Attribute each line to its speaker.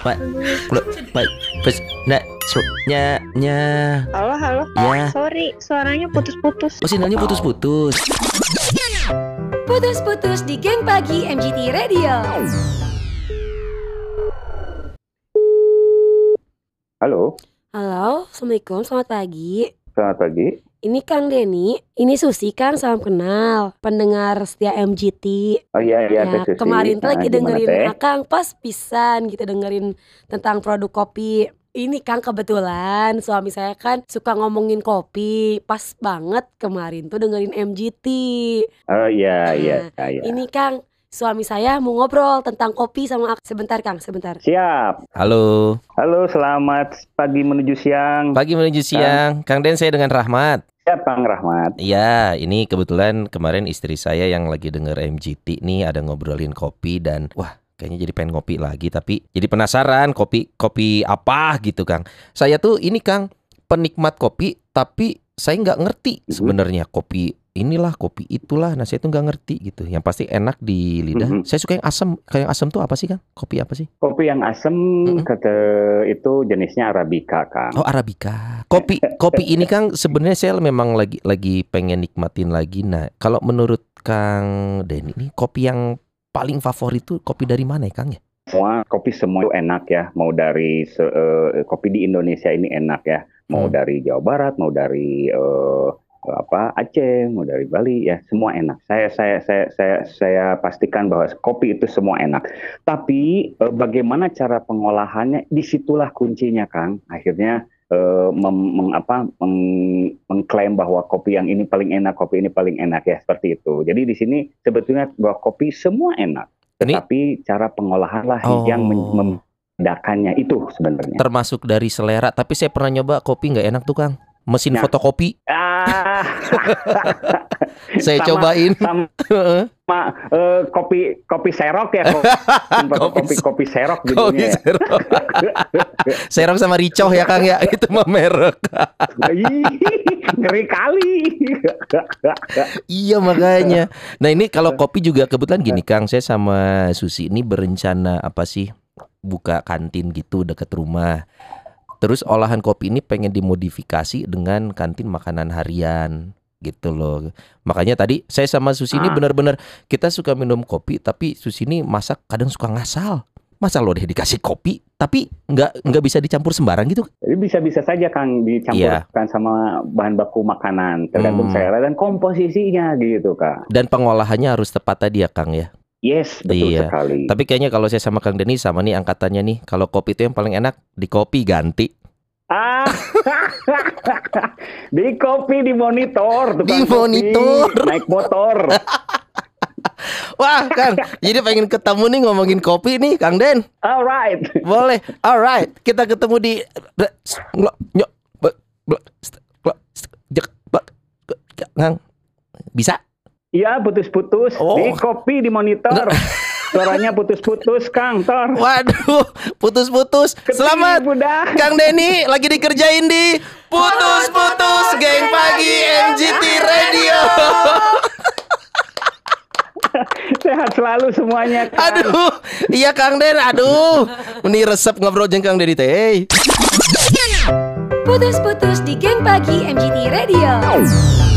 Speaker 1: Pak, lo, Pak, pes, nak, so, nya, nya.
Speaker 2: Halo, halo.
Speaker 1: Ya.
Speaker 2: Sorry, suaranya putus-putus.
Speaker 1: Oh, sinyalnya putus-putus.
Speaker 3: Putus-putus di geng pagi MGT Radio.
Speaker 4: Halo,
Speaker 5: Halo, Assalamualaikum, selamat pagi.
Speaker 4: selamat pagi.
Speaker 5: Ini Kang Denny, ini Susi Kang, salam kenal, pendengar setia MGT.
Speaker 4: Oh iya iya,
Speaker 5: Ya,
Speaker 4: Teh Susi.
Speaker 5: kemarin tuh
Speaker 4: Ah,
Speaker 5: lagi
Speaker 4: gimana,
Speaker 5: dengerin
Speaker 4: Teh?
Speaker 5: Akang pas pisan gitu dengerin tentang produk kopi. Ini Kang kebetulan suami saya kan suka ngomongin kopi, pas banget kemarin tuh dengerin MGT.
Speaker 4: Oh iya iya iya. iya.
Speaker 5: Ah, Ini Kang, suami saya mau ngobrol tentang kopi sama aku. Sebentar Kang, sebentar.
Speaker 4: Siap.
Speaker 1: Halo,
Speaker 4: Halo, selamat pagi menuju siang.
Speaker 1: pagi menuju siang. Kang Den, saya dengan Rahmat.
Speaker 4: Siap, Bang Rahmat.
Speaker 1: Iya, ini kebetulan kemarin istri saya yang lagi denger MGT nih ada ngobrolin kopi dan wah kayaknya jadi pengen ngopi lagi tapi jadi penasaran kopi kopi apa gitu Kang. Saya tuh ini Kang penikmat kopi tapi saya nggak ngerti
Speaker 4: Mhm.
Speaker 1: sebenarnya kopi inilah kopi itulah nah saya tuh nggak ngerti gitu yang pasti enak di lidah
Speaker 4: Mhm.
Speaker 1: saya suka yang asam kayak yang asam tuh apa sih kang kopi apa sih
Speaker 4: Kopi yang asem
Speaker 1: Mm-mm.
Speaker 4: kata itu jenisnya arabica, Kang.
Speaker 1: Oh Arabica. Kopi kopi ini Kang sebenarnya saya memang lagi lagi pengen nikmatin lagi. Nah, kalau menurut Kang Denny ini kopi yang paling favorit tuh kopi dari mana ya Kang ya?
Speaker 4: Semua kopi semua itu enak ya, mau dari se- eh, kopi di Indonesia ini enak ya. Mau
Speaker 1: Hmm.
Speaker 4: dari Jawa Barat, mau dari eh, apa Aceh, mau dari Bali ya, semua enak. Saya saya saya saya saya pastikan bahwa kopi itu semua enak. Tapi eh, bagaimana cara pengolahannya disitulah kuncinya Kang. Akhirnya eh, mem- meng- apa, meng- mengklaim bahwa kopi yang ini paling enak, kopi ini paling enak ya seperti itu. Jadi di sini sebetulnya bahwa kopi semua enak,
Speaker 1: Ini-
Speaker 4: tetapi cara pengolahan lah
Speaker 1: Oh.
Speaker 4: yang men- membedakannya itu sebenarnya.
Speaker 1: Termasuk dari selera, tapi saya pernah nyoba kopi nggak enak tuh Kang. Mesin
Speaker 4: Nah.
Speaker 1: fotokopi
Speaker 4: Ah,
Speaker 1: saya
Speaker 4: Sama.
Speaker 1: cobain.
Speaker 4: sama eh, kopi kopi serok ya, kopi kopi, kopi serok
Speaker 1: kopi
Speaker 4: judulnya ya.
Speaker 1: serok. serok sama ricoh ya Kang ya. Itu mah merek.
Speaker 4: Ih, Ngeri kali.
Speaker 1: Iya makanya. Iya. Nah ini kalau kopi juga kebetulan gini Kang, saya sama Susi ini berencana apa sih buka kantin gitu dekat rumah. Terus olahan kopi ini pengen dimodifikasi dengan kantin makanan harian gitu loh. Makanya tadi saya sama Susi ini
Speaker 4: Ah.
Speaker 1: benar-benar kita suka minum kopi tapi Susi ini masak kadang suka ngasal. Masa lo deh dikasih kopi tapi nggak nggak bisa dicampur sembarang gitu?
Speaker 4: Jadi bisa-bisa saja Kang dicampurkan sama bahan baku makanan
Speaker 1: Iya. Hmm.
Speaker 4: tergantung selera dan komposisinya gitu Kak.
Speaker 1: Dan pengolahannya harus tepat tadi ya Kang ya.
Speaker 4: Yes, betul
Speaker 1: Iya.
Speaker 4: sekali.
Speaker 1: Tapi kayaknya kalau saya sama Kang Denny sama nih angkatannya nih. Kalau kopi itu yang paling enak di kopi ganti.
Speaker 4: Ah, di kopi di monitor, tukang
Speaker 1: Di monitor.
Speaker 4: kopi, naik motor.
Speaker 1: Wah Kang, jadi pengen ketemu nih ngomongin kopi nih Kang Den.
Speaker 4: Alright,
Speaker 1: Boleh, alright. Kita ketemu di Nglo- nyo- be- ble- st- klo- st- jek- bak- ke- ke- Kang, bisa?
Speaker 4: ya putus-putus.
Speaker 1: Oh. Nah.
Speaker 4: Di kopi di monitor, suaranya putus-putus Kang Tor.
Speaker 1: Waduh, putus-putus. Selamat
Speaker 4: Budak.
Speaker 1: Kang Denny lagi dikerjain di putus-putus geng pagi MGT Radio.
Speaker 4: Sehat selalu semuanya. Kang.
Speaker 1: Aduh, iya Kang Den, aduh. Ini resep ngobrol jeng Kang Dedi teh. Hey.
Speaker 3: Putus-putus di geng pagi MGT Radio.